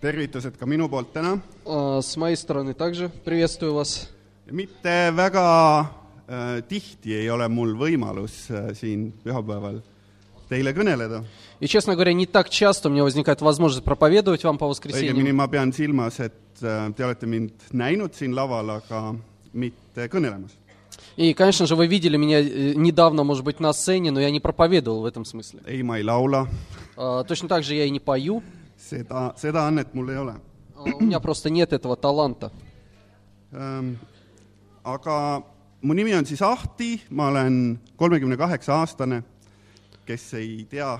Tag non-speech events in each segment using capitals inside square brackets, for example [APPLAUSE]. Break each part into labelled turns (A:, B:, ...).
A: tervitused ka minu poolt täna .
B: А, С моей стороны также приветствую вас.
A: mitte väga äh, tihti ei ole mul võimalus äh, siin pühapäeval teile kõneleda ,
B: И, честно говоря, не так часто у меня возникает возможность проповедовать вам по
A: õigemini
B: воскресеньям.
A: ma pean silmas , et äh, te olete mind näinud siin laval , aga mitte kõnelemas .
B: И, конечно же, вы видели меня э, недавно, может быть, на сцене, но я не проповедовал в этом смысле.
A: ei , ma ei laula ,
B: А, Точно так же я и не пою.
A: seda , seda annet mul ei ole
B: А, У меня просто нет этого таланта.
A: ähm, . aga mu nimi on siis Ahti , ma olen kolmekümne kaheksa aastane , kes ei tea ,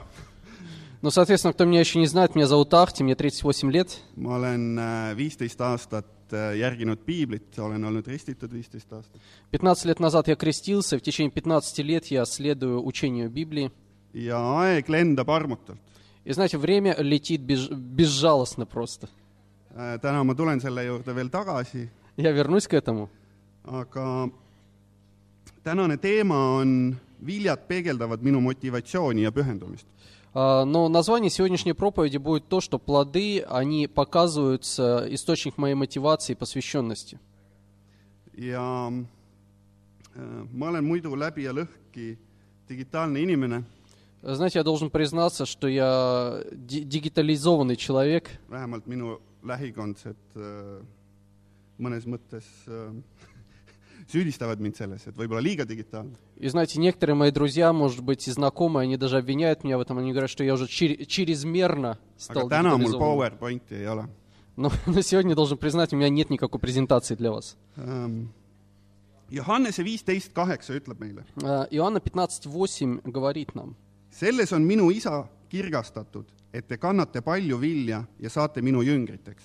B: Но, соответственно, кто меня еще не знает, меня зовут Ахти, мне 38 лет.
A: ma olen äh, viisteist aastat äh, järginud piiblit , olen olnud ristitud viisteist aastat
B: 15 лет назад я крестился, и в течение 15 лет я следую учению Библии.
A: ja aeg lendab armutult .
B: И знаете, время летит безж- безжалостно просто.
A: Äh, täna ma tulen selle juurde veel tagasi ,
B: Я вернусь к этому.
A: aga tänane teema on viljad peegeldavad minu motivatsiooni ja pühendumist .
B: А, Но название сегодняшней проповеди будет то, что плоды, они показываются источник моей мотивации и посвященности.
A: ja äh, ma olen muidu läbi ja lõhki digitaalne inimene ,
B: Э, Знаете, я должен признаться, что я ди- дигитализованный человек.
A: vähemalt minu lähikondsed äh, mõnes mõttes äh, [LAUGHS] süüdistavad mind selles , et võib-olla liiga digitaalne .
B: И знаете, некоторые мои друзья, может быть, и знакомые, они даже обвиняют меня в этом, они говорят, что я уже чер-
A: aga
B: чрезмерно стал
A: täna mul
B: дигитализованным.
A: PowerPointi ei ole
B: Но, [LAUGHS] но сегодня должен признать, у меня нет никакой презентации для вас.
A: Ähm, Johannese viisteist kaheksa ütleb meile ,
B: Э, Иоанна 15.8 говорит нам,
A: selles on minu isa kirgastatud , et te kannate palju vilja ja saate minu jüngriteks .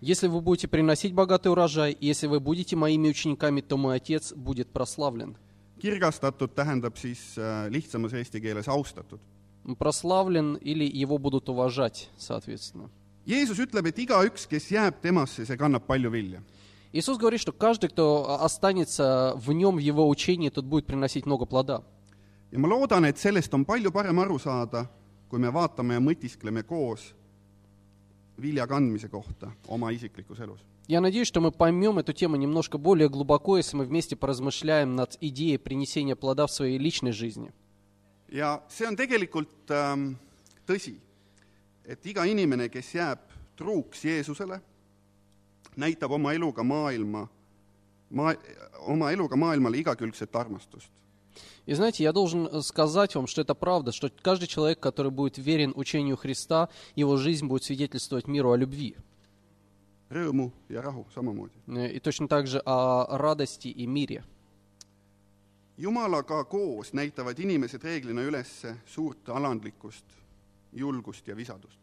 B: Если вы будете приносить богатый урожай, и если вы будете моими учениками, то мой Отец будет прославлен.
A: kirgastatud tähendab siis äh, lihtsamas eesti keeles austatud .
B: Прославлен или его budут уважать, soответственно.
A: Jeesus ütleb , et igaüks , kes jääb temasse , see kannab palju vilja .
B: Иисус говорит, что каждый, кто а, останется в нем, в его учении, тот будет приносить много плода.
A: ja ma loodan , et sellest on palju parem aru saada , kui me vaatame ja mõtiskleme koos vilja kandmise kohta oma isiklikus elus .
B: Я надеюсь, что мы поймем эту тему немножко более глубоко, если мы вместе поразмышляем над идеей принесения плода в своей личной жизни.
A: ja see on tegelikult ähm, tõsi , et iga inimene , kes jääb truuks Jeesusele , näitab oma eluga maailma , maa , oma eluga maailmale igakülgset armastust .
B: И знаете, я должен э, сказать вам, что это правда, что каждый человек, который будет верен учению Христа, его жизнь будет свидетельствовать миру о любви.
A: rõõmu ja rahu samamoodi .
B: Э, И точно так же о радости и мире.
A: jumalaga koos näitavad inimesed reeglina üles suurt alandlikkust , julgust ja visadust .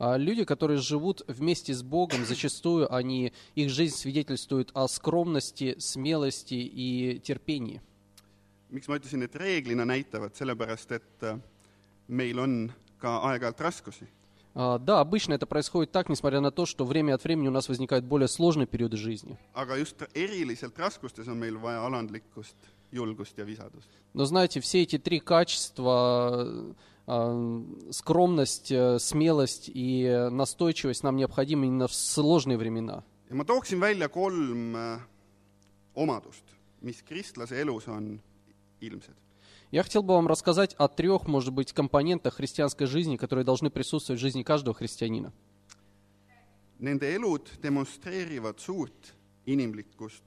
B: А люди, которые живут вместе с Богом, зачастую они, их жизнь свидетельствует о скромности, смелости и терпении.
A: miks ma ütlesin , et reeglina näitavad , sellepärast et äh, meil on ka aeg-ajalt raskusi
B: А, Да, обычно это происходит так, несмотря на то, что время от времени у нас возникают более сложные периоды жизни.
A: aga just eriliselt raskustes on meil vaja alandlikkust , julgust ja visadust .
B: Но знаете, все эти три качества, э, а, скромность, э, смелость и настойчивость нам необходимы именно в сложные времена.
A: ja ma tooksin välja kolm äh, omadust , mis kristlase elus on ilmsed .
B: Я хотел бы вам рассказать о трех, может быть, компонентах христианской жизни, которые должны присутствовать в жизни каждого христианина.
A: Nende elud demonstreerivad suurt inimlikkust ,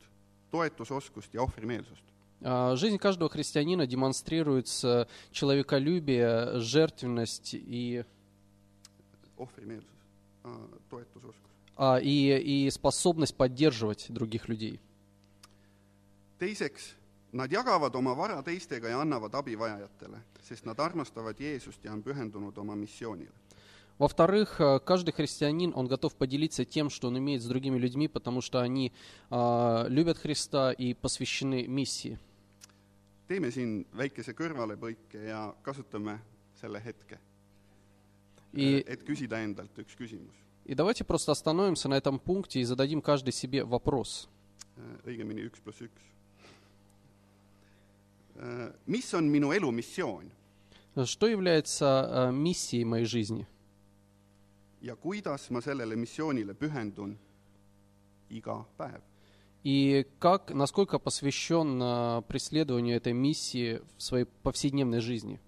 A: toetusoskust ja ohvrimeelsust .
B: А, Жизнь каждого христианина демонстрируется человеколюбие, жертвенность и,
A: ohvrimeelsus , toetusoskus .
B: а, и, и способность поддерживать других людей.
A: teiseks , nad jagavad oma vara teistega ja annavad abivajajatele , sest nad armastavad Jeesust ja on pühendunud oma missioonile .
B: Во-вторых, э, каждый христианин, он готов поделиться тем, что он имеет с другими людьми, потому что они а, любят Христа и посвящены миссии.
A: teeme siin väikese kõrvalepõike ja kasutame selle hetke ,
B: И,
A: et küsida endalt üks küsimus ,
B: и давайте просто остановимся на этом пункте и зададим каждый себе вопрос.
A: Äh, õigemini üks pluss üks . Mis on minu elu missioon
B: Что является э, миссией моей жизни?
A: ja kuidas ma sellele missioonile pühendun iga päev.
B: И как, насколько посвящен э, преследованию этой миссии в своей повседневной жизни.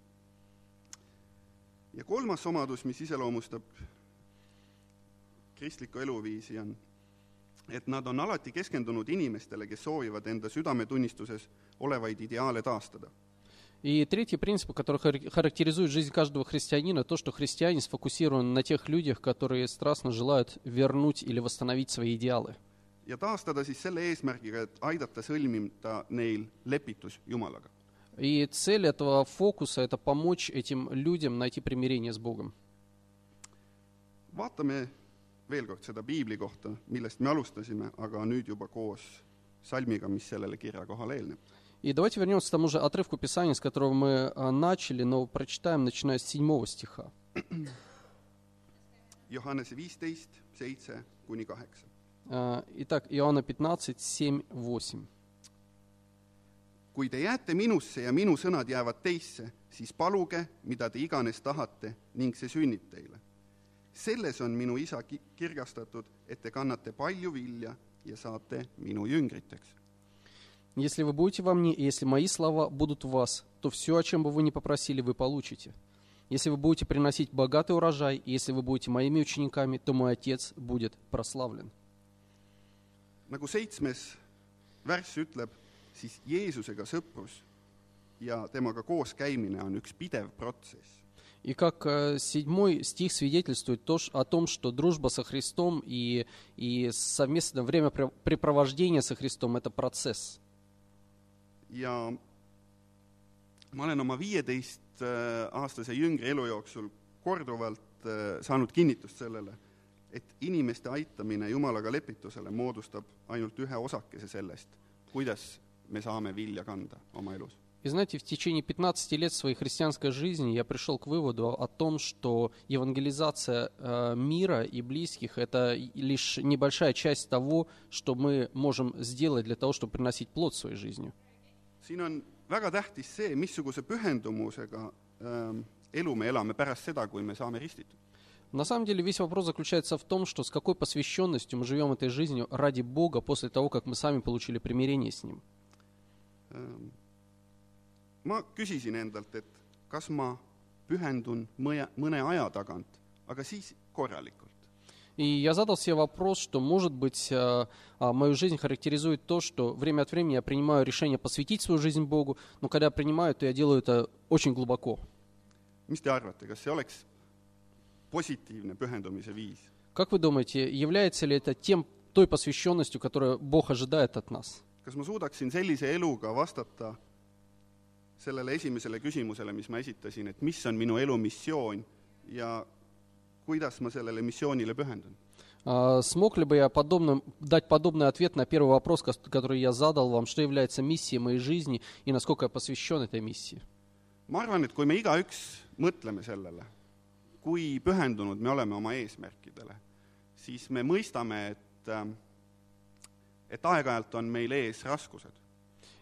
A: ja kolmas omadus , mis iseloomustab kristlikku eluviisi , on , et nad on alati keskendunud inimestele , kes soovivad enda südametunnistuses olevaid ideaale taastada .
B: И третий принцип, который хар- характеризует жизнь каждого христианина, то, что христиане сфокусированы на тех людях, которые страстно желают вернуть или восстановить свои идеалы.
A: ja taastada siis selle eesmärgiga , et aidata sõlmida neil lepitus Jumalaga .
B: И цель этого фокуса – это помочь этим людям найти примирение с Богом.
A: vaatame veel kord seda piibli kohta , millest me alustasime , aga nüüd juba koos salmiga , mis sellele kirjakohale eelneb .
B: И давайте вернемся к тому же отрывку Писания, с которого мы а, начали, но прочитаем, начиная с 7 стиха.
A: Johannese viisteist , seitse kuni kaheksa .
B: А, Итак, Иоанна 15, 7, 8.
A: kui te jääte minusse ja minu sõnad jäävad teisse , siis paluge , mida te iganes tahate ning see sünnib teile . selles on minu isa ki- kirgastatud , et te kannate palju vilja ja saate minu jüngriteks .
B: «Если вы будете во мне, и если мои слова будут в вас, то все, о чем бы вы ни попросили, вы получите. Если вы будете приносить богатый урожай, и если вы будете моими учениками, то мой Отец будет прославлен».
A: nagu seitsmes värss ütleb , siis Jeesusega sõprus ja temaga koos käimine on üks pidev protsess .
B: И как э, седьмой стих свидетельствует то ж- о том, что дружба со Христом и, и совместное времяпрепровождение со Христом – это процесс.
A: ja ma olen oma viieteist-aastase jüngri elu jooksul korduvalt äh, saanud kinnitust sellele , et inimeste aitamine Jumalaga lepitusele moodustab ainult ühe osakese sellest , kuidas me saame vilja kanda oma elus .
B: И знаете, в течение 15 лет своей христианской жизни я пришел к выводу о том, что евангелизация э, мира и близких – это и- лишь небольшая часть того, что мы можем сделать для того, чтобы приносить плод своей жизнью.
A: siin on väga tähtis see , missuguse pühendumusega ähm, elu me elame pärast seda , kui me saame ristitud .
B: На самом деле весь вопрос заключается в том, что с какой посвященностью мы живем этой жизнью ради Бога после того, как мы сами получили примирение с Ним.
A: Ähm, ma küsisin endalt , et kas ma pühendun mõne , mõne aja tagant , aga siis korralikult .
B: И я задал себе вопрос, что, может быть, э, а, мою жизнь характеризует то, что время от времени я принимаю решение посвятить свою жизнь Богу, но когда я принимаю, то я делаю это очень глубоко.
A: mis te arvate , kas see oleks positiivne pühendumise viis ?
B: Как вы думаете, является ли это тем, той посвященностью, которую Бог ожидает от нас?
A: kas ma suudaksin sellise eluga vastata sellele esimesele küsimusele , mis ma esitasin , et mis on minu elu missioon ja kuidas ma sellele missioonile pühendun ?
B: А, Смог ли бы я подобным, дать подобный ответ на первый вопрос, кос- который я задал вам, что является миссией моей жизни и насколько я посвящен этой миссии?
A: ma arvan , et kui me igaüks mõtleme sellele , kui pühendunud me oleme oma eesmärkidele , siis me mõistame , et , et aeg-ajalt on meil ees raskused .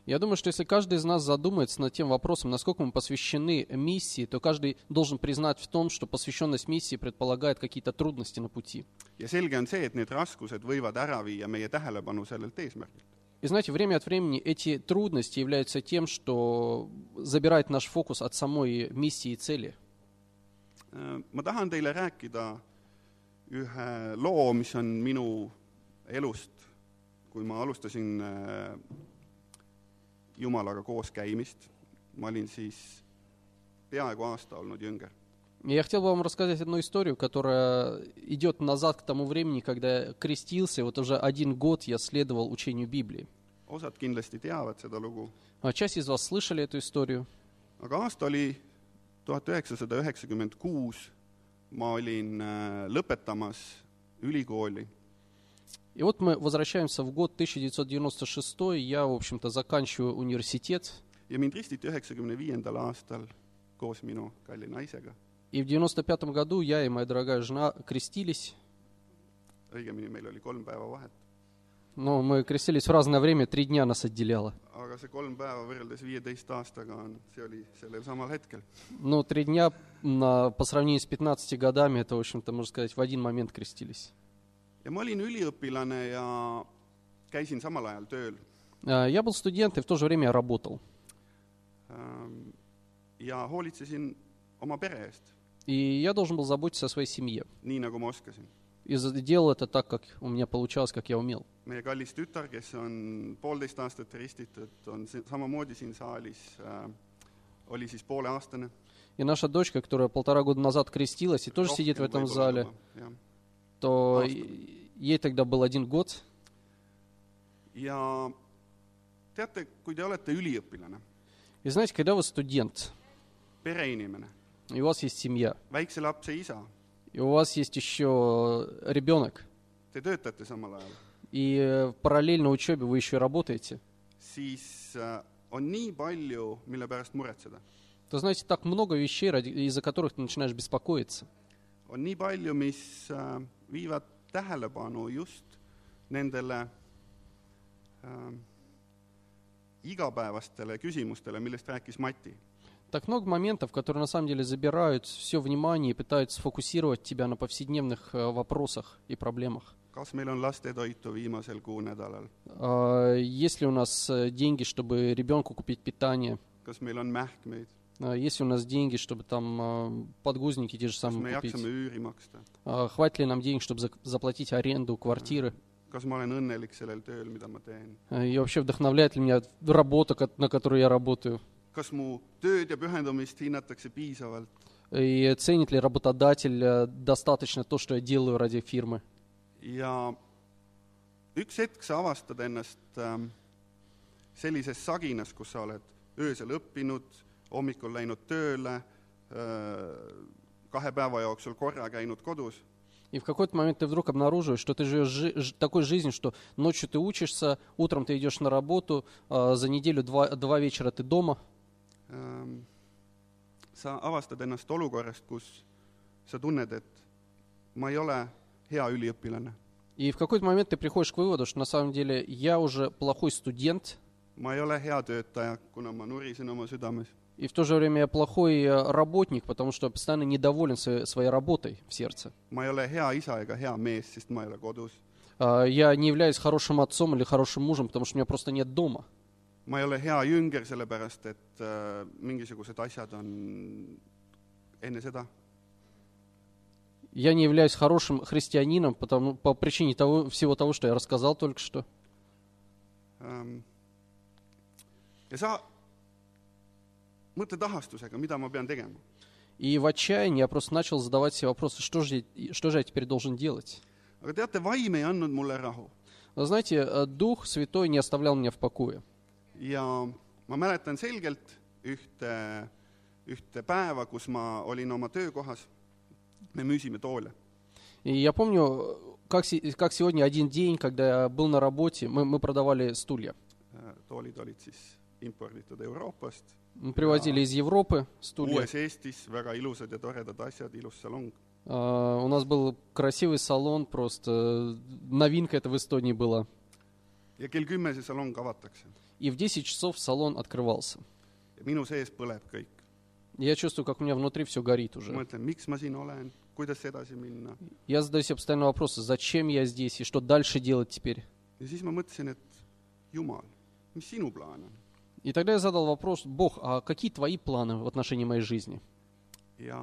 B: Я думаю, что если каждый из нас задумается над тем вопросом, насколько мы посвящены миссии, то каждый должен признать в том, что посвященность миссии предполагает какие-то трудности на пути.
A: ja selge on see , et need raskused võivad ära viia meie tähelepanu sellelt eesmärgilt .
B: И знаете, время от времени эти трудности являются тем, что забирает наш фокус от самой миссии и цели.
A: Äh, Ma tahan teile rääkida ühe loo , mis on minu elust , kui ma alustasin äh, Jumalaga koos käimist , ma olin siis peaaegu aasta olnud jünger .
B: И Я хотел бы вам рассказать одну историю, которая идет назад к тому времени, когда я крестился, и вот уже один год я следовал учению Библии.
A: osad kindlasti teavad seda lugu ,
B: А Часть из вас слышали эту историю.
A: aga aasta oli tuhat üheksasada üheksakümmend kuus , ma olin äh, lõpetamas ülikooli
B: И вот мы возвращаемся в год 1996, я, в общем-то, заканчиваю университет,
A: ja mind ristiti üheksakümne viiendal aastal koos minu kalli naisega ,
B: и в 95 году я и моя дорогая жена крестились,
A: õigemini meil oli kolm päeva vahet .
B: Но мы крестились в разное время, три дня нас отделяло.
A: aga see kolm päeva võrreldes viieteist aastaga on , see oli sellel samal hetkel .
B: Но три дня на, по сравнению с 15 годами, это, в общем-то, можно сказать, в один момент крестились.
A: ja ma olin üliõpilane ja käisin samal ajal tööl .
B: Э, Я был студент и в то же время я работал.
A: ähm, ja hoolitsesin oma pere eest ,
B: И я должен был заботиться о своей семье.
A: nii nagu ma oskasin .
B: И за- делал это так, как у меня получалось, как я умел.
A: meie kallis tütar , kes on poolteist aastat ristitud , on si- samamoodi siin saalis äh, , oli siis pooleaastane .
B: И наша дочка, которая полтора года назад крестилась и тоже сидит в этом зале,
A: jah .
B: то
A: Просто.
B: и- ей тогда был один год.
A: ja teate , kui te olete üliõpilane ,
B: И знаете, когда вы студент,
A: pereinimene ,
B: и у вас есть семья,
A: väikse lapse isa ,
B: и у вас есть еще ребенок,
A: te töötate samal ajal ,
B: и э, параллельно учебе вы еще и работаете,
A: siis äh, on nii palju , mille pärast muretseda .
B: то, знаете, так много вещей, ради- из-за которых ты начинаешь беспокоиться.
A: on nii palju , mis äh, viivad tähelepanu just nendele äh, igapäevastele küsimustele , millest rääkis Mati .
B: Так много моментов, которые на самом деле забирают все внимание и пытаются сфокусировать тебя на повседневных э, вопросах и проблемах.
A: kas meil on lastetoitu viimasel kuu nädalal ,
B: А, Есть ли у нас э, деньги, чтобы ребенку купить питание?
A: kas meil on mähkmeid ,
B: А, Есть ли у нас деньги, чтобы там э, подгузники те же
A: kas me
B: самые
A: jaksame
B: купить?
A: üüri maksta ,
B: А, Хватит ли нам денег, чтобы зак- заплатить аренду квартиры?
A: kas ma olen õnnelik sellel tööl , mida ma teen ,
B: А, И вообще вдохновляет ли меня работа, ко- на которой я работаю?
A: kas mu tööd ja pühendumist hinnatakse piisavalt ,
B: И ценит ли работодатель э, достаточно то, что я делаю ради фирмы?
A: ja üks hetk sa avastad ennast ähm, sellises saginas , kus sa oled öösel õppinud , hommikul läinud tööle , kahe päeva jooksul korra käinud kodus
B: И в какой-то момент ты вдруг обнаруживаешь, что ты живешь жи- ж- такой жизнью, что ночью ты учишься, утром ты идешь на работу, а, за неделю два, два вечера ты дома.
A: ähm, , sa avastad ennast olukorrast , kus sa tunned , et ma ei ole hea üliõpilane ,
B: И в какой-то момент ты приходишь к выводу, что на самом деле я уже плохой студент,
A: ma ei ole hea töötaja , kuna ma nurisen oma südames ,
B: и в то же время я плохой э, работник, потому что я постоянно недоволен своей, своей работой в сердце.
A: ma ei ole hea isa ega hea mees , sest ma ei ole kodus ,
B: А, Я не являюсь хорошим отцом или хорошим мужем, потому что у меня просто нет дома.
A: ma ei ole hea jünger , sellepärast et äh, mingisugused asjad on enne seda .
B: Я не являюсь хорошим христианином потому, по причине того, всего того, что я рассказал только что.
A: ja ähm, sa mõtled ahastusega , mida ma pean tegema .
B: И в отчаянии я просто начал задавать себе вопросы, что же, я- что же я теперь должен делать?
A: aga teate , vaim ei andnud mulle rahu
B: Но знаете, э, Дух Святой не оставлял меня в покое.
A: ja ma mäletan selgelt ühte , ühte päeva , kus ma olin oma töökohas , me müüsime toole
B: И я помню, э, как, се- как сегодня один день, когда я был на работе, мы, мы продавали стулья.
A: Äh, toolid olid siis imporditud Euroopast ,
B: Мы привозили из Европы стулья.
A: uues Eestis , väga ilusad ja toredad asjad , ilus salong .
B: А, у нас был красивый салон, просто э, новинка это в Эстонии была.
A: ja kell kümme see salong avatakse .
B: И в 10 часов салон открывался.
A: ja minu sees põleb kõik .
B: Я чувствую, как у меня внутри все горит уже.
A: ma mõtlen , miks ma siin olen , kuidas edasi minna .
B: Я задаю себе постоянно вопросы, зачем я здесь и что дальше делать теперь?
A: ja siis ma mõtlesin , et jumal , mis sinu plaan on ?
B: И тогда я задал вопрос, Бог, а какие твои планы в отношении моей жизни?
A: ja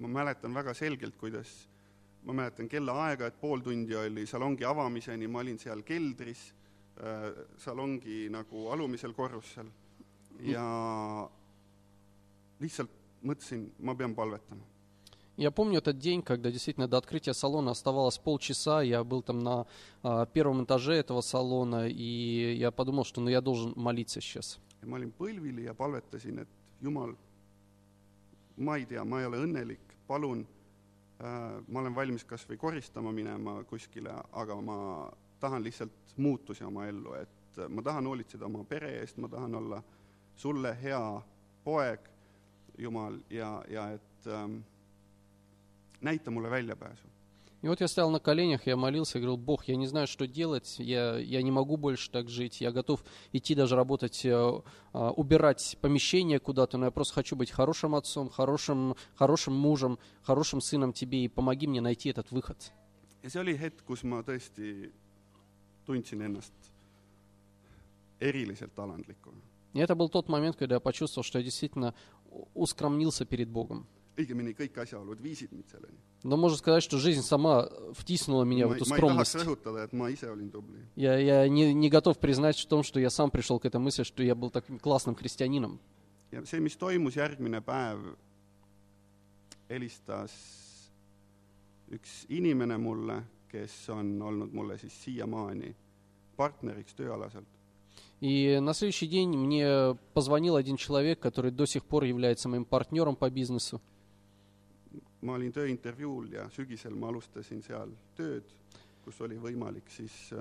A: ma mäletan väga selgelt , kuidas , ma mäletan kellaaega , et pool tundi oli salongi avamiseni , ma olin seal keldris äh, , salongi nagu alumisel korrusel ja lihtsalt mõtlesin , ma pean palvetama .
B: Я помню этот день, когда действительно до открытия салона оставалось полчаса, я был там на а, первом этаже этого салона, и я подумал, что ну, я должен молиться сейчас.
A: ja ma olin põlvili ja palvetasin , et Jumal , ma ei tea , ma ei ole õnnelik , palun äh, , ma olen valmis kas või koristama minema kuskile , aga ma tahan lihtsalt muutusi oma ellu , et äh, ma tahan hoolitseda oma pere eest , ma tahan olla sulle hea poeg , Jumal , ja , ja et ähm, näita mulle väljapääsu .
B: И И вот я стоял на коленях, я молился, я говорил, Бог, я не знаю, что делать, я, я не могу больше так жить, я готов идти даже работать, э, э, убирать помещение куда-то, но я просто хочу быть хорошим отцом, хорошим, хорошим мужем, хорошим сыном тебе, и помоги мне найти этот выход.
A: ja see oli hetk , kus ma tõesti tundsin ennast eriliselt alandlikuna .
B: И это был тот момент, когда я почувствовал, что я действительно у- ускромнился перед Bogom.
A: õigemini kõik asjaolud viisid mind selleni .
B: Но можно сказать, что жизнь сама втиснула меня в
A: ma ei
B: эту
A: ma ei tahaks
B: скромность.
A: rõhutada , et ma ise olin tubli .
B: Я, я не, не готов признать в том, что я сам пришел к этой мысли, что я был таким классным христианином.
A: ja see , mis toimus järgmine päev , helistas üks inimene mulle , kes on olnud mulle siis siiamaani partneriks tööalaselt .
B: И на следующий день мне позвонил один человек, который до сих пор является моим партнером по бизнесу.
A: ma olin tööintervjuul ja sügisel ma alustasin seal tööd , kus oli võimalik siis äh,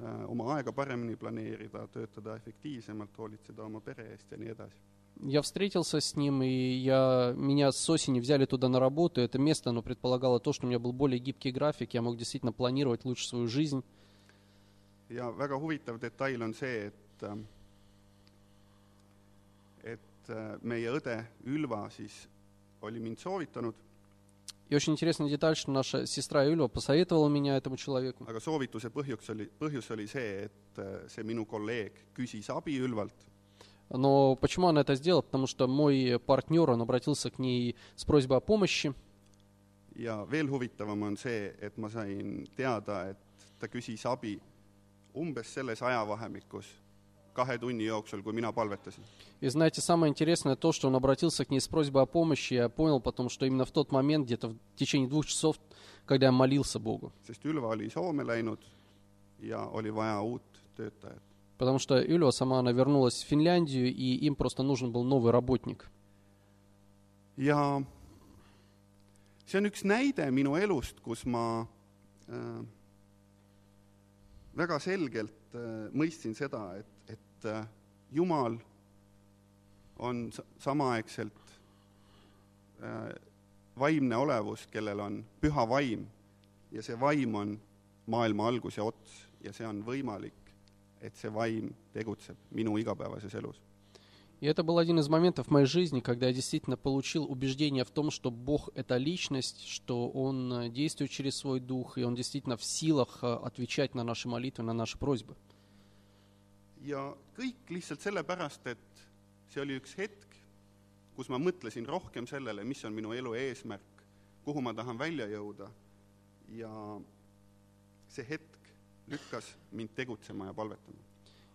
A: äh, oma aega paremini planeerida , töötada efektiivsemalt , hoolitseda oma pere eest ja nii edasi .
B: Я встретился с ним, и я, меня с осени взяли туда на работу. Это место, оно предполагало то, что у меня был более гибкий график, я мог действительно планировать лучше свою жизнь.
A: ja väga huvitav detail on see , et ähm, et äh, meie õde Ülva siis oli mind soovitanud ,
B: И очень интересная деталь, что наша сестра Юля посоветовала меня этому человеку.
A: aga soovituse põhjuks oli , põhjus oli see , et äh, see minu kolleeg küsis abi Ülvalt
B: Но почему она это сделала? Потому что мой партнер, он обратился к ней с просьбой о помощи.
A: ja veel huvitavam on see , et ma sain teada , et ta küsis abi umbes selles ajavahemikus , kahe tunni jooksul , kui mina palvetasin .
B: И знаете, самое интересное то, что он обратился к ней с просьбой о помощи. Я понял потом, что именно в тот момент, где-то в течение двух часов, когда я молился Богу.
A: sest Ülva oli Soome läinud ja oli vaja uut töötajat .
B: Потому что Юлия сама, она вернулась в Финляндию, и им просто нужен был новый работник.
A: ja see on üks näide minu elust , kus ma äh, väga selgelt äh, mõistsin seda , et , et äh, Jumal on sa- samaaegselt äh, vaimne olevus , kellel on püha vaim ja see vaim on maailma algus ja ots ja see on võimalik , et see vaim tegutseb minu igapäevases elus .
B: И это был один из моментов в моей жизни, когда я действительно получил убеждение в том, что Бог — это личность, что Он э, действует через свой дух, и Он действительно в силах э, отвечать на наши молитвы, на наши просьбы.
A: ja kõik lihtsalt sellepärast , et see oli üks hetk , kus ma mõtlesin rohkem sellele , mis on minu elu eesmärk , kuhu ma tahan välja jõuda ja see hetk lükkas mind tegutsema ja palvetama .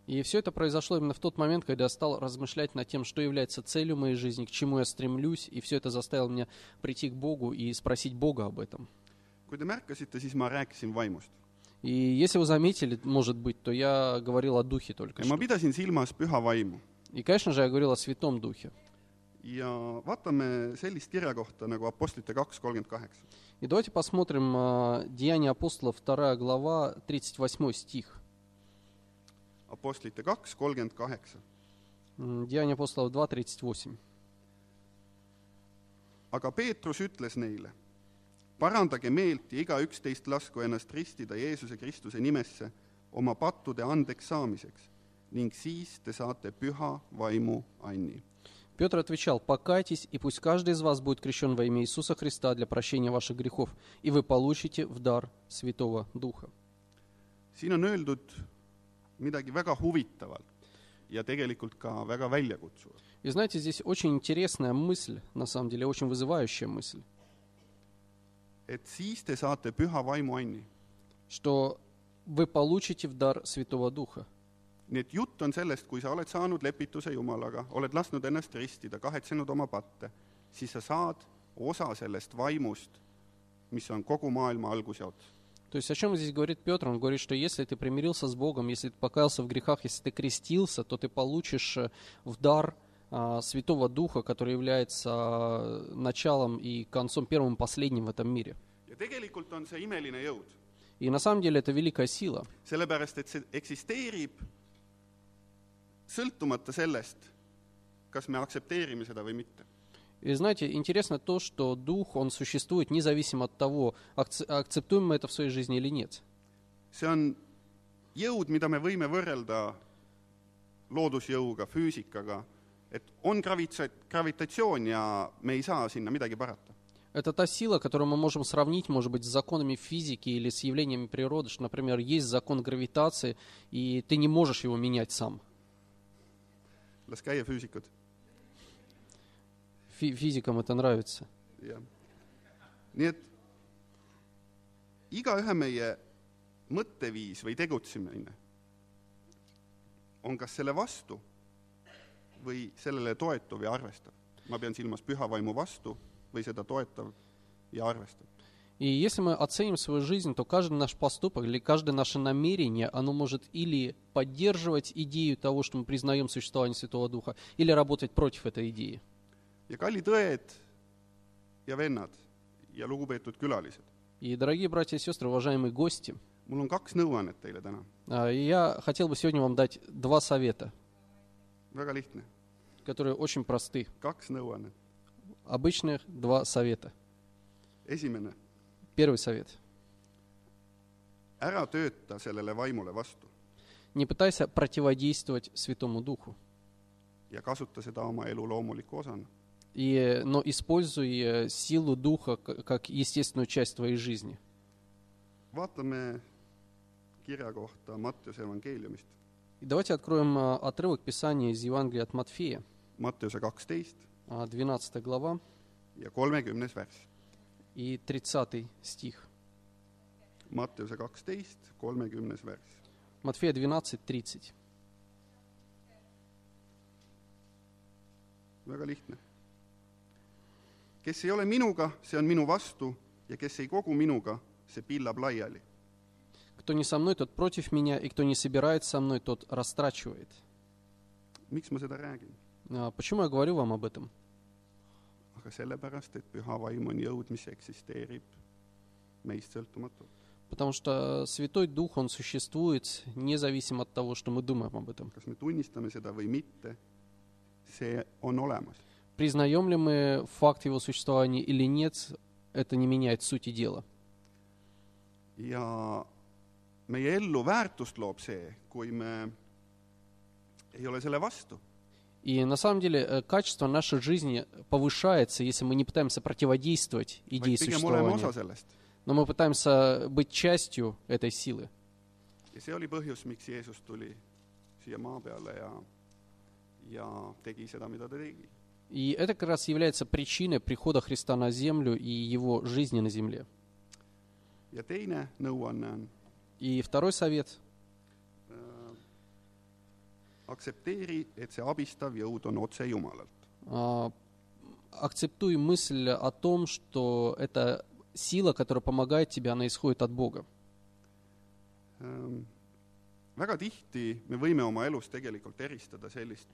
B: И все это произошло именно в тот момент, когда я стал размышлять над тем, что является целью моей жизни, к чему я стремлюсь, и все это заставило меня прийти к Богу и спросить Бога об этом.
A: kui te märkasite , siis ma rääkisin vaimust
B: И если вы заметили, может быть, то я говорил о Духе только
A: ja ma
B: что.
A: pidasin silmas püha vaimu
B: И, конечно же, я говорил о Святом Духе.
A: ja vaatame sellist kirjakohta nagu Apostlite kaks kolmkümmend kaheksa .
B: И давайте посмотрим а, Деяния апостолов, 2 глава, 38 стих.
A: Apostlite kaks kolmkümmend kaheksa
B: М, Деяния апостолов 2, 38.
A: aga Peetrus ütles neile , parandage meelt ja igaüks teist lasku ennast ristida Jeesuse Kristuse nimesse oma pattude andeks saamiseks ning siis te saate püha vaimu anni .
B: Петр отвечал, «Покайтесь, и пусть каждый из вас будет крещен во имя Иисуса Христа для прощения ваших грехов, и вы получите в дар Святого Духа».
A: siin on öeldud midagi väga huvitavat ja tegelikult ka väga väljakutsuvat .
B: И знаете, здесь очень интересная мысль, на самом деле, очень вызывающая мысль,
A: et siis te saate püha vaimu anni .
B: что вы получите в дар Святого Духа.
A: nii et jutt on sellest , kui sa oled saanud lepituse Jumalaga , oled lasknud ennast ristida , kahetsenud oma patte , siis sa saad osa sellest vaimust , mis on kogu maailma algus ja ots .
B: То есть о чем здесь говорит Петр? Он говорит, что если ты примирился с Богом, если ты покаялся в грехах, если ты крестился, то ты получишь э, в дар а, Святого Духа, который является а, началом и концом первым и последним в этом мире.
A: ja tegelikult on see imeline jõud ,
B: И на самом деле это великая сила,
A: sellepärast et see eksisteerib sõltumata sellest , kas me aktsepteerime seda või mitte .
B: И знаете, интересно то, что дух, он существует независимо от того, акц- акцептуем мы это в своей жизни или нет.
A: see on jõud , mida me võime võrrelda loodusjõuga , füüsikaga , et on gravitsa- , gravitatsioon ja me ei saa sinna midagi parata .
B: Это та сила, которую мы можем сравнить, может быть, с законами физики или с явлениями природы, что, например, есть закон гравитации, и ты не можешь его менять сам.
A: las käia füüsikud ,
B: Фи- физикам это нравится.
A: jah . nii et igaühe meie mõtteviis või tegutsemine on kas selle vastu või sellele toetuv ja arvestav . ma pean silmas püha vaimu vastu või seda toetav ja arvestav .
B: И если мы оценим свою жизнь, то каждый наш поступок или каждое наше намерение, оно может или поддерживать идею того, что мы признаем существование Святого Духа, или работать против этой идеи.
A: ja kallid õed ja vennad ja lugupeetud külalised ,
B: И, дорогие братья и сестры, уважаемые гости,
A: mul on kaks nõuannet teile täna ,
B: а, я хотел бы сегодня вам дать два совета,
A: väga lihtne ,
B: которые очень просты.
A: kaks nõuannet .
B: Обычных два совета.
A: esimene ,
B: Первый совет.
A: ära tööta sellele vaimule vastu
B: Не пытайся противодействовать Святому Духу,
A: ja kasuta seda oma elu loomuliku osana .
B: и, но используй э, силу Духа к- как естественную часть твоей жизни.
A: vaatame kirja kohta Mattiuse evangeeliumist ,
B: И давайте откроем э, отрывок Писания из Евангелия от Матфея,
A: Mattiuse kaksteist
B: а, 12 глава
A: ja kolmekümnes värss .
B: и 30 стих.
A: Mattiuse kaksteist , kolmekümnes värss .
B: Матфея 12, 30.
A: väga lihtne . kes ei ole minuga , see on minu vastu ja kes ei kogu minuga , see pillab laiali .
B: «Кто не со мной, тот против меня, и кто не собирает со мной, тот растрачивает».
A: miks ma seda räägin ?
B: А, Почему я говорю вам об этом?
A: aga sellepärast , et püha vaim on jõud , mis eksisteerib meist sõltumatult .
B: Потому что э, Святой Дух, Он существует независимо от того, что мы думаем об этом.
A: kas me tunnistame seda või mitte , see on olemas .
B: Признаем ли мы факт его существования или нет, это не меняет сути дела.
A: ja meie ellu väärtust loob see , kui me ei ole selle vastu .
B: И на самом деле э, качество нашей жизни повышается, если мы не пытаемся противодействовать идее
A: vaid pigem oleme
B: существования.
A: osa sellest .
B: Но мы пытаемся быть частью этой силы.
A: ja see oli põhjus , miks Jeesus tuli siia maa peale ja , ja tegi seda , mida ta tegi .
B: И это как раз является причиной прихода Христа на землю и его жизни на земле.
A: ja teine nõuanne on
B: И второй совет.
A: äh, aktsepteeri , et see abistav jõud on otse Jumalalt .
B: а, Акцептуй мысль о том, что это сила, которая помогает тебе, она исходит от Бога.
A: Ähm, väga tihti me võime oma elus tegelikult eristada sellist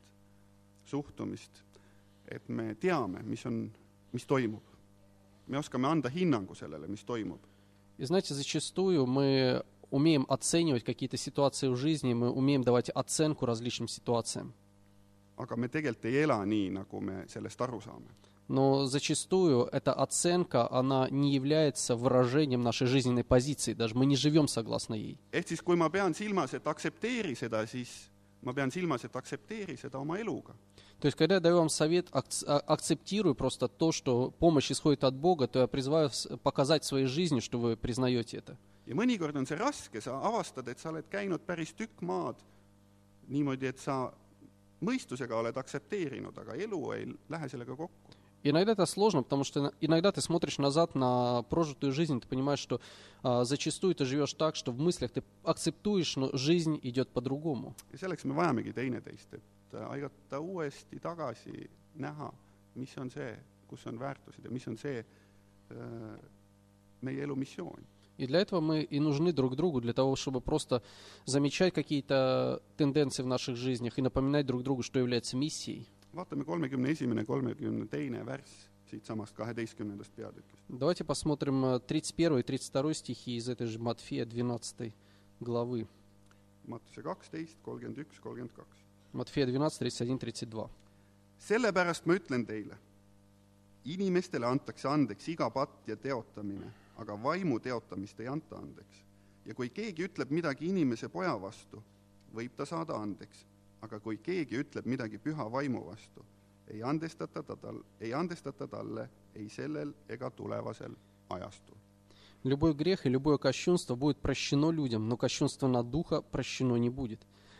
A: suhtumist , et me teame , mis on , mis toimub . me oskame anda hinnangu sellele , mis toimub .
B: И знаете, зачастую мы умеем оценивать какие-то ситуации в жизни, мы умеем давать оценку различным ситуациям.
A: aga me tegelikult ei ela nii , nagu me sellest aru saame .
B: Но зачастую эта оценка, она не является выражением нашей жизненной позиции, даже мы не живем согласно ей.
A: ehk siis , kui ma pean silmas , et aktsepteeri seda , siis ma pean silmas , et aktsepteeri seda oma eluga .
B: То есть, когда я даю вам совет, акц- а- акцептируй просто то, что помощь исходит от Бога, то я призываю вас показать своей жизни, что вы признаете это.
A: ja mõnikord on see raske , sa avastad , et sa oled käinud päris tükk maad niimoodi , et sa mõistusega oled aktsepteerinud , aga elu ei lähe sellega kokku .
B: Иногда это сложно, потому что ин- иногда ты смотришь назад на прожитую жизнь, ты понимаешь, что а, зачастую ты живешь так, что в мыслях ты акцептуешь, но жизнь идет по-другому.
A: ja selleks me vajamegi teineteist , et aidata uuesti tagasi näha , mis on see , kus on väärtused ja mis on see öö, meie elu missioon .
B: И для этого мы и нужны друг другу, для того, чтобы просто замечать какие-то тенденции в наших жизнях и напоминать друг другу, что является миссией.
A: vaatame kolmekümne esimene , kolmekümne teine värss siitsamast kaheteistkümnendast peatükist .
B: Давайте посмотрим э, 31 и 32 стихи из этой же Матфея 12 главы.
A: Matuse kaksteist , kolmkümmend üks , kolmkümmend kaks .
B: Матфея 12, 31, 32.
A: sellepärast ma ütlen teile , inimestele antakse andeks iga patt ja teotamine, aga vaimu teotamist ei anta andeks. ja kui keegi ütleb midagi inimese poja vastu, võib ta saada andeks, aga kui keegi ütleb midagi püha vaimu vastu, ei andestata ta tal, ei andestata talle ei sellel ega tulevasel ajastul.
B: Любой грех и любое кощунство будет прощено людям, но кощунство на Духа прощено не будет.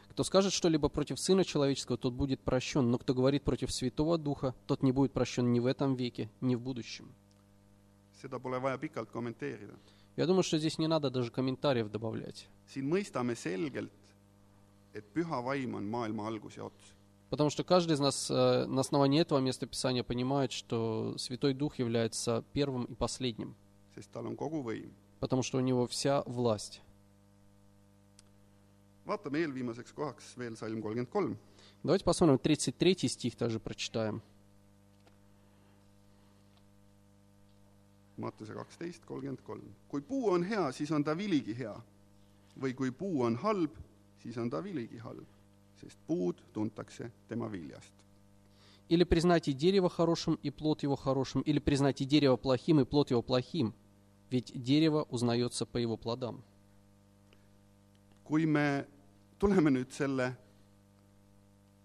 B: Кто скажет что-либо против Сына Человеческого, тот будет прощен, но кто говорит против Святого Духа, тот не будет прощен ни в этом веке, ни в будущем.
A: seda pole vaja pikalt kommenteerida.
B: Я думаю, что здесь не надо даже комментариев добавлять,
A: siin mõistame selgelt, et püha vaim on maailma algus ja ots.
B: потому что каждый из нас э, на основании этого места Писания понимает, что Святой Дух является первым и последним,
A: sest tal on kogu võim.
B: потому что у него вся власть.
A: vaatame eelviimaseks kohaks veel salm kolmkümmend kolm.
B: Давайте посмотрим 33 стих также прочитаем.
A: Mattuse kaksteist kolmkümmend kolm. kui puu on hea, siis on ta viligi hea. või kui puu on halb, siis on ta viligi halb, sest puud tuntakse tema viljast.
B: Или признайте дерево хорошим и плод его хорошим, или признайте дерево плохим и плод его плохим, ведь дерево узнается по его плодам.
A: kui me tuleme nüüd selle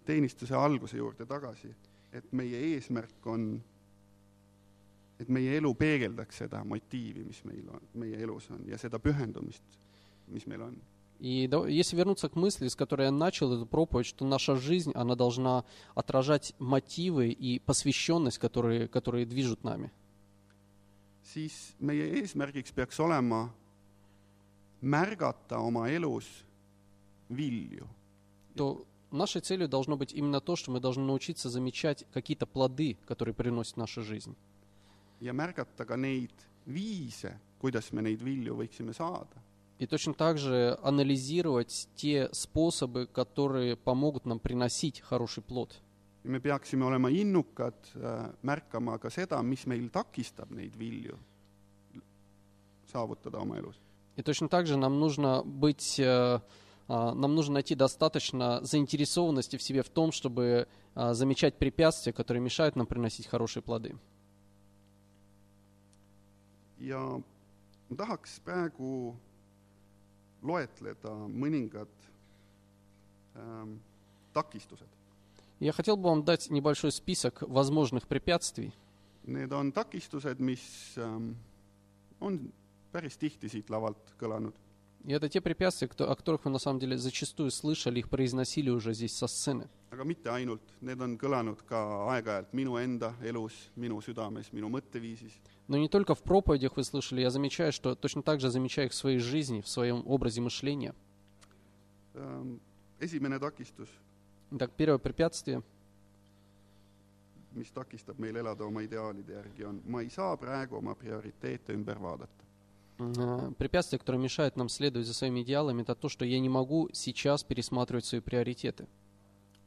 A: teenistuse alguse juurde tagasi, et meie eesmärk on, et meie elu peegeldaks seda motiivi, mis meil on, meie elus on ja seda pühendumist, mis meil on.
B: И да- если вернуться к мысли, с которой я начал эту проповедь, что наша жизнь, она должна отражать мотивы и посвященность, которые, которые движут нами.
A: siis meie eesmärgiks peaks olema märgata oma elus vilju.
B: То нашей целью должно быть именно то, что мы должны научиться замечать какие-то плоды, которые приносит наша жизнь.
A: ja märgata ka neid viise, kuidas me neid vilju võiksime saada.
B: И точно так же анализировать те способы, которые помогут нам приносить хороший плод.
A: ja me peaksime olema innukad äh, märkama ka seda, mis meil takistab neid vilju saavutada oma elus.
B: И точно так же нам нужно быть, э, а, нам нужно найти достаточно заинтересованности в себе в том, чтобы а, замечать препятствия, которые мешают нам приносить хорошие плоды.
A: ja ma tahaks praegu loetleda mõningad ähm, takistused.
B: Я хотел бы вам дать небольшой список возможных препятствий.
A: Need on takistused, mis ähm, on päris tihti siit lavalt kõlanud.
B: И это те препятствия, кто- о которых вы на самом деле зачастую слышали, их произносили уже здесь со сцены.
A: aga mitte ainult , need on kõlanud ka aeg-ajalt minu enda elus , minu südames , minu mõtteviisis .
B: Но не только в проповедях вы слышали, я замечаю, что точно так же замечаю их в своей жизни, в своем образе мышления.
A: Ähm, esimene takistus ,
B: Итак, первое препятствие.
A: mis takistab meil elada oma ideaalide järgi , on ma ei saa praegu oma prioriteete ümber vaadata .
B: Э, Препятствие, которое мешает нам следовать за своими идеалами, это то, что я не могу сейчас пересматривать свои приоритеты,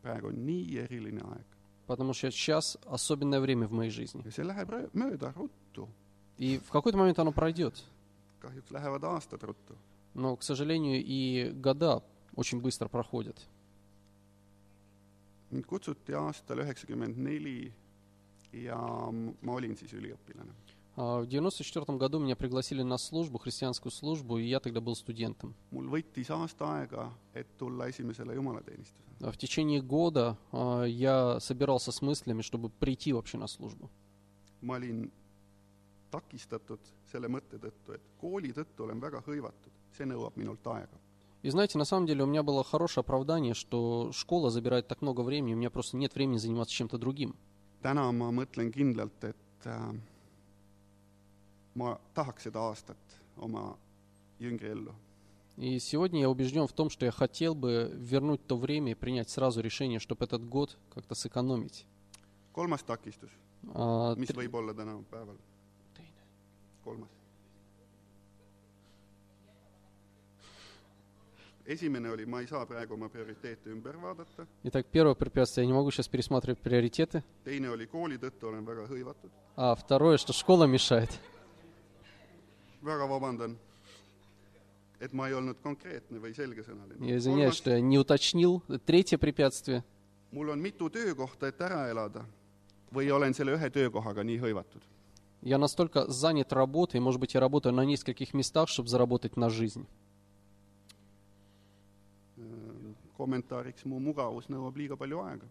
A: praegu on nii eriline aeg
B: потому что сейчас особенное время в моей жизни.
A: ja see läheb rö- mööda ruttu ,
B: И в какой-то момент оно пройдет,
A: kahjuks lähevad aastad ruttu .
B: но, к сожалению, и года очень быстро проходят.
A: mind kutsuti aastal üheksakümmend neli ja m- ma olin siis üliõpilane .
B: А, В 94 году меня пригласили на службу, христианскую службу, и я тогда был студентом.
A: mul võttis aasta aega , et tulla esimesele jumalateenistusele .
B: А В течение года а, я собирался с мыслями, чтобы прийти вообще на службу.
A: ma olin takistatud selle mõtte tõttu , et kooli tõttu olen väga hõivatud , see nõuab minult aega .
B: И знаете, на самом деле у меня было хорошее оправдание, что школа забирает так много времени, у меня просто нет времени заниматься чем-то другим.
A: täna ma mõtlen kindlalt , et äh, ma tahaks seda aastat oma jüngri ellu .
B: И сегодня я убежден в том, что я хотел бы вернуть то время и принять сразу решение, чтобы этот год как-то сэкономить.
A: kolmas takistus ,
B: А,
A: mis
B: тр-
A: võib olla tänapäeval , kolmas . esimene oli , ma ei saa praegu oma prioriteete ümber vaadata ,
B: Итак, первое препятствие, я не могу сейчас пересматривать приоритеты.
A: teine oli kooli tõttu olen väga hõivatud ,
B: А второе, что школа мешает.
A: väga vabandan , et ma ei olnud konkreetne või selgesõnaline .
B: Я извиняюсь, что я не уточнил. Третье препятствие.
A: mul on mitu töökohta , et ära elada või olen selle ühe töökohaga nii hõivatud .
B: Я настолько занят работой, может быть, я работаю на нескольких местах, чтобы заработать на жизнь.
A: Äh, kommentaariks , mu mugavus nõuab liiga palju aega .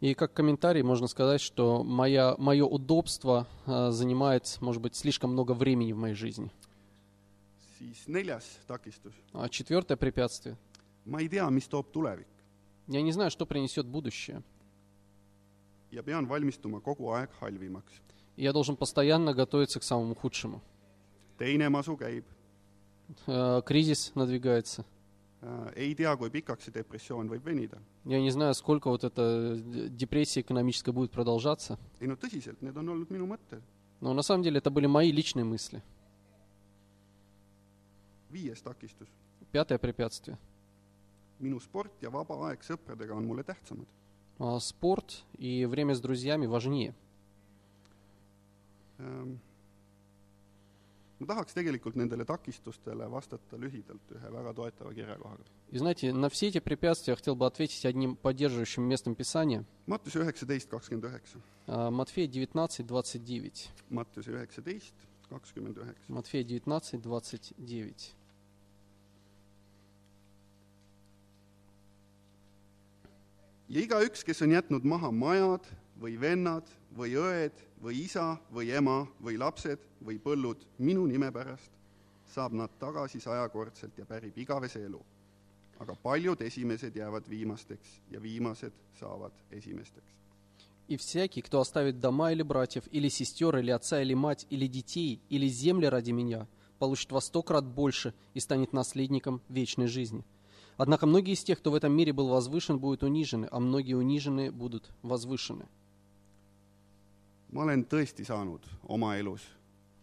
B: И как комментарий можно сказать, что моя, мое удобство э, занимает, может быть, слишком много времени в моей жизни.
A: siis neljas takistus .
B: А четвертое препятствие.
A: ma ei tea , mis toob tulevik
B: Я не знаю, что принесет будущее.
A: ja pean valmistuma kogu aeg halvimaks .
B: Я должен постоянно готовиться к самому худшему.
A: teine masu käib ,
B: Э, Кризис надвигается.
A: Äh, ei tea , kui pikaks see depressioon võib venida .
B: Я не знаю, сколько вот эта д- депрессия экономическая будет продолжаться.
A: ei no tõsiselt , need on olnud minu mõtted .
B: Но на самом деле это были мои личные мысли.
A: viies takistus .
B: Пятое препятствие.
A: minu sport ja vaba aeg sõpradega on mulle tähtsamad .
B: А, Спорт и время с друзьями важнее.
A: ma Ehm, tahaks tegelikult nendele takistustele vastata lühidalt ühe väga toetava kirjakohaga .
B: И знаете, на все эти препятствия я хотел бы ответить одним поддерживающим местом Писания.
A: Mattuse üheksateist , kakskümmend üheksa .
B: А, Матфея 19, 29.
A: Mattuse üheksateist , kakskümmend üheksa .
B: Матфея 19, 29.
A: ja igaüks , kes on jätnud maha majad või vennad või õed või isa või ema või lapsed või põllud minu nime pärast , saab nad tagasi sajakordselt ja pärib igavese elu . aga paljud esimesed jäävad viimasteks ja viimased saavad esimesteks .
B: «И всякий, кто оставит дома или братьев, или сестер, или отца, или мать, или детей, или земли ради меня, получит во сто крат больше и станет наследником вечной жизни. Однако многие из тех, кто в этом мире был возвышен, будут унижены, а многие униженные будут возвышены».
A: ma olen tõesti saanud oma elus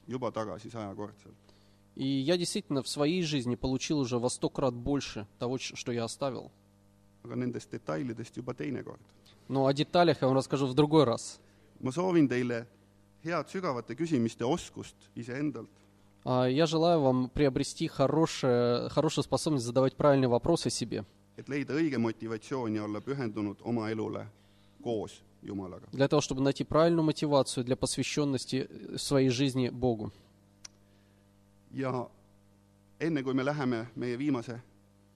A: juba tagasi sajakordselt .
B: И я действительно в своей жизни получил уже во сто крат больше того, ч- что я оставил.
A: aga nendest detailidest juba teinekord .
B: Но о деталях я вам расскажу в другой раз.
A: ma soovin teile head sügavate küsimiste oskust iseendalt
B: А, Я желаю вам приобрести хорошее, хорошую способность задавать правильные вопросы себе,
A: et leida õige motivatsioon ja olla pühendunud oma elule koos Jumalaga .
B: для того, чтобы найти правильную мотивацию для посвященности э, своей жизни Богу.
A: ja enne , kui me läheme meie viimase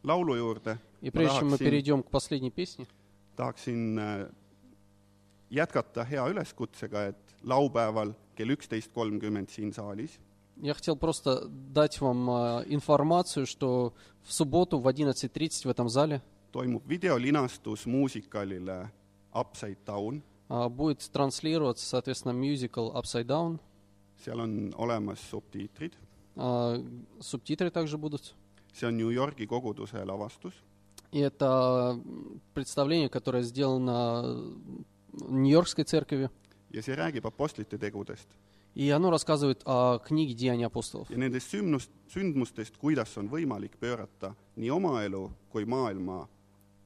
A: laulu juurde ,
B: И
A: ma
B: прежде чем
A: tahaksin ,
B: мы перейдем к последней песне,
A: tahaksin äh, jätkata hea üleskutsega , et laupäeval kell üksteist kolmkümmend siin saalis
B: я хотел просто дать вам а, информацию, что в субботу в 11.30 в этом зале
A: toimub videolinastus muusikalile Upside Down ,
B: а, будет транслироваться, соответственно, мюзикл «Upside Down».
A: seal on olemas subtiitrid ,
B: А, Субтитры также будут.
A: see on New Yorgi koguduse lavastus ,
B: И это м, представление, которое сделано э, Нью-Йоркской церковью.
A: ja see räägib apostlite tegudest
B: И оно рассказывает о книге «Деяния апостолов».
A: ja nendest sündmust , sündmustest , kuidas on võimalik pöörata nii oma elu kui maailma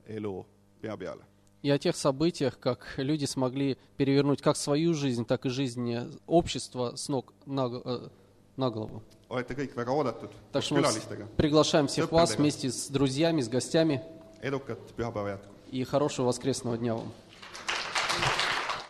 A: elu pea peale .
B: И о тех событиях, как люди смогли перевернуть как свою жизнь, так и жизнь э, общества с ног на, г- э, на голову.
A: olete kõik väga oodatud
B: Так
A: koos
B: что мы вас
A: külalistega ,
B: приглашаем всех вас
A: Супер, ребят.
B: вместе с друзьями, с гостями.
A: edukat pühapäeva jätku!
B: И хорошего воскресного дня вам.